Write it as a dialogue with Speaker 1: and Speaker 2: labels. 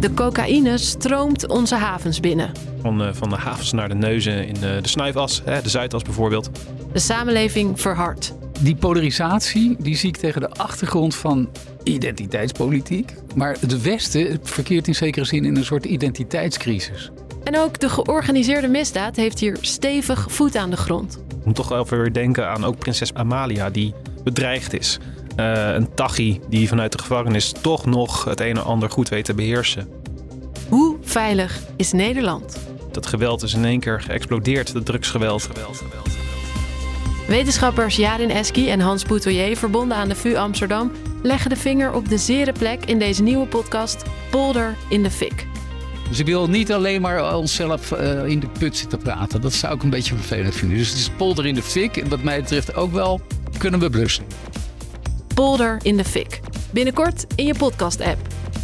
Speaker 1: De cocaïne stroomt onze havens binnen.
Speaker 2: Van, eh, van de havens naar de neuzen in eh, de snuifas, hè, de zuidas bijvoorbeeld.
Speaker 1: De samenleving verhardt.
Speaker 3: Die polarisatie die zie ik tegen de achtergrond van identiteitspolitiek. Maar het Westen verkeert in zekere zin in een soort identiteitscrisis.
Speaker 1: En ook de georganiseerde misdaad heeft hier stevig voet aan de grond.
Speaker 2: Ik moet toch wel even weer denken aan ook prinses Amalia, die bedreigd is. Eh, een tachi die vanuit de gevangenis toch nog het een en ander goed weet te beheersen.
Speaker 1: Hoe veilig is Nederland?
Speaker 2: Dat geweld is in één keer geëxplodeerd, dat drugsgeweld.
Speaker 1: Wetenschappers Jarin Eski en Hans Boutoyer, verbonden aan de VU Amsterdam, leggen de vinger op de zere plek in deze nieuwe podcast Polder in de Fik.
Speaker 3: Dus ik wil niet alleen maar onszelf eh, in de put zitten praten. Dat zou ik een beetje vervelend vinden. Dus het is polder in de fik. En wat mij betreft ook wel kunnen we blussen.
Speaker 1: Polder in de Fik. Binnenkort in je podcast-app.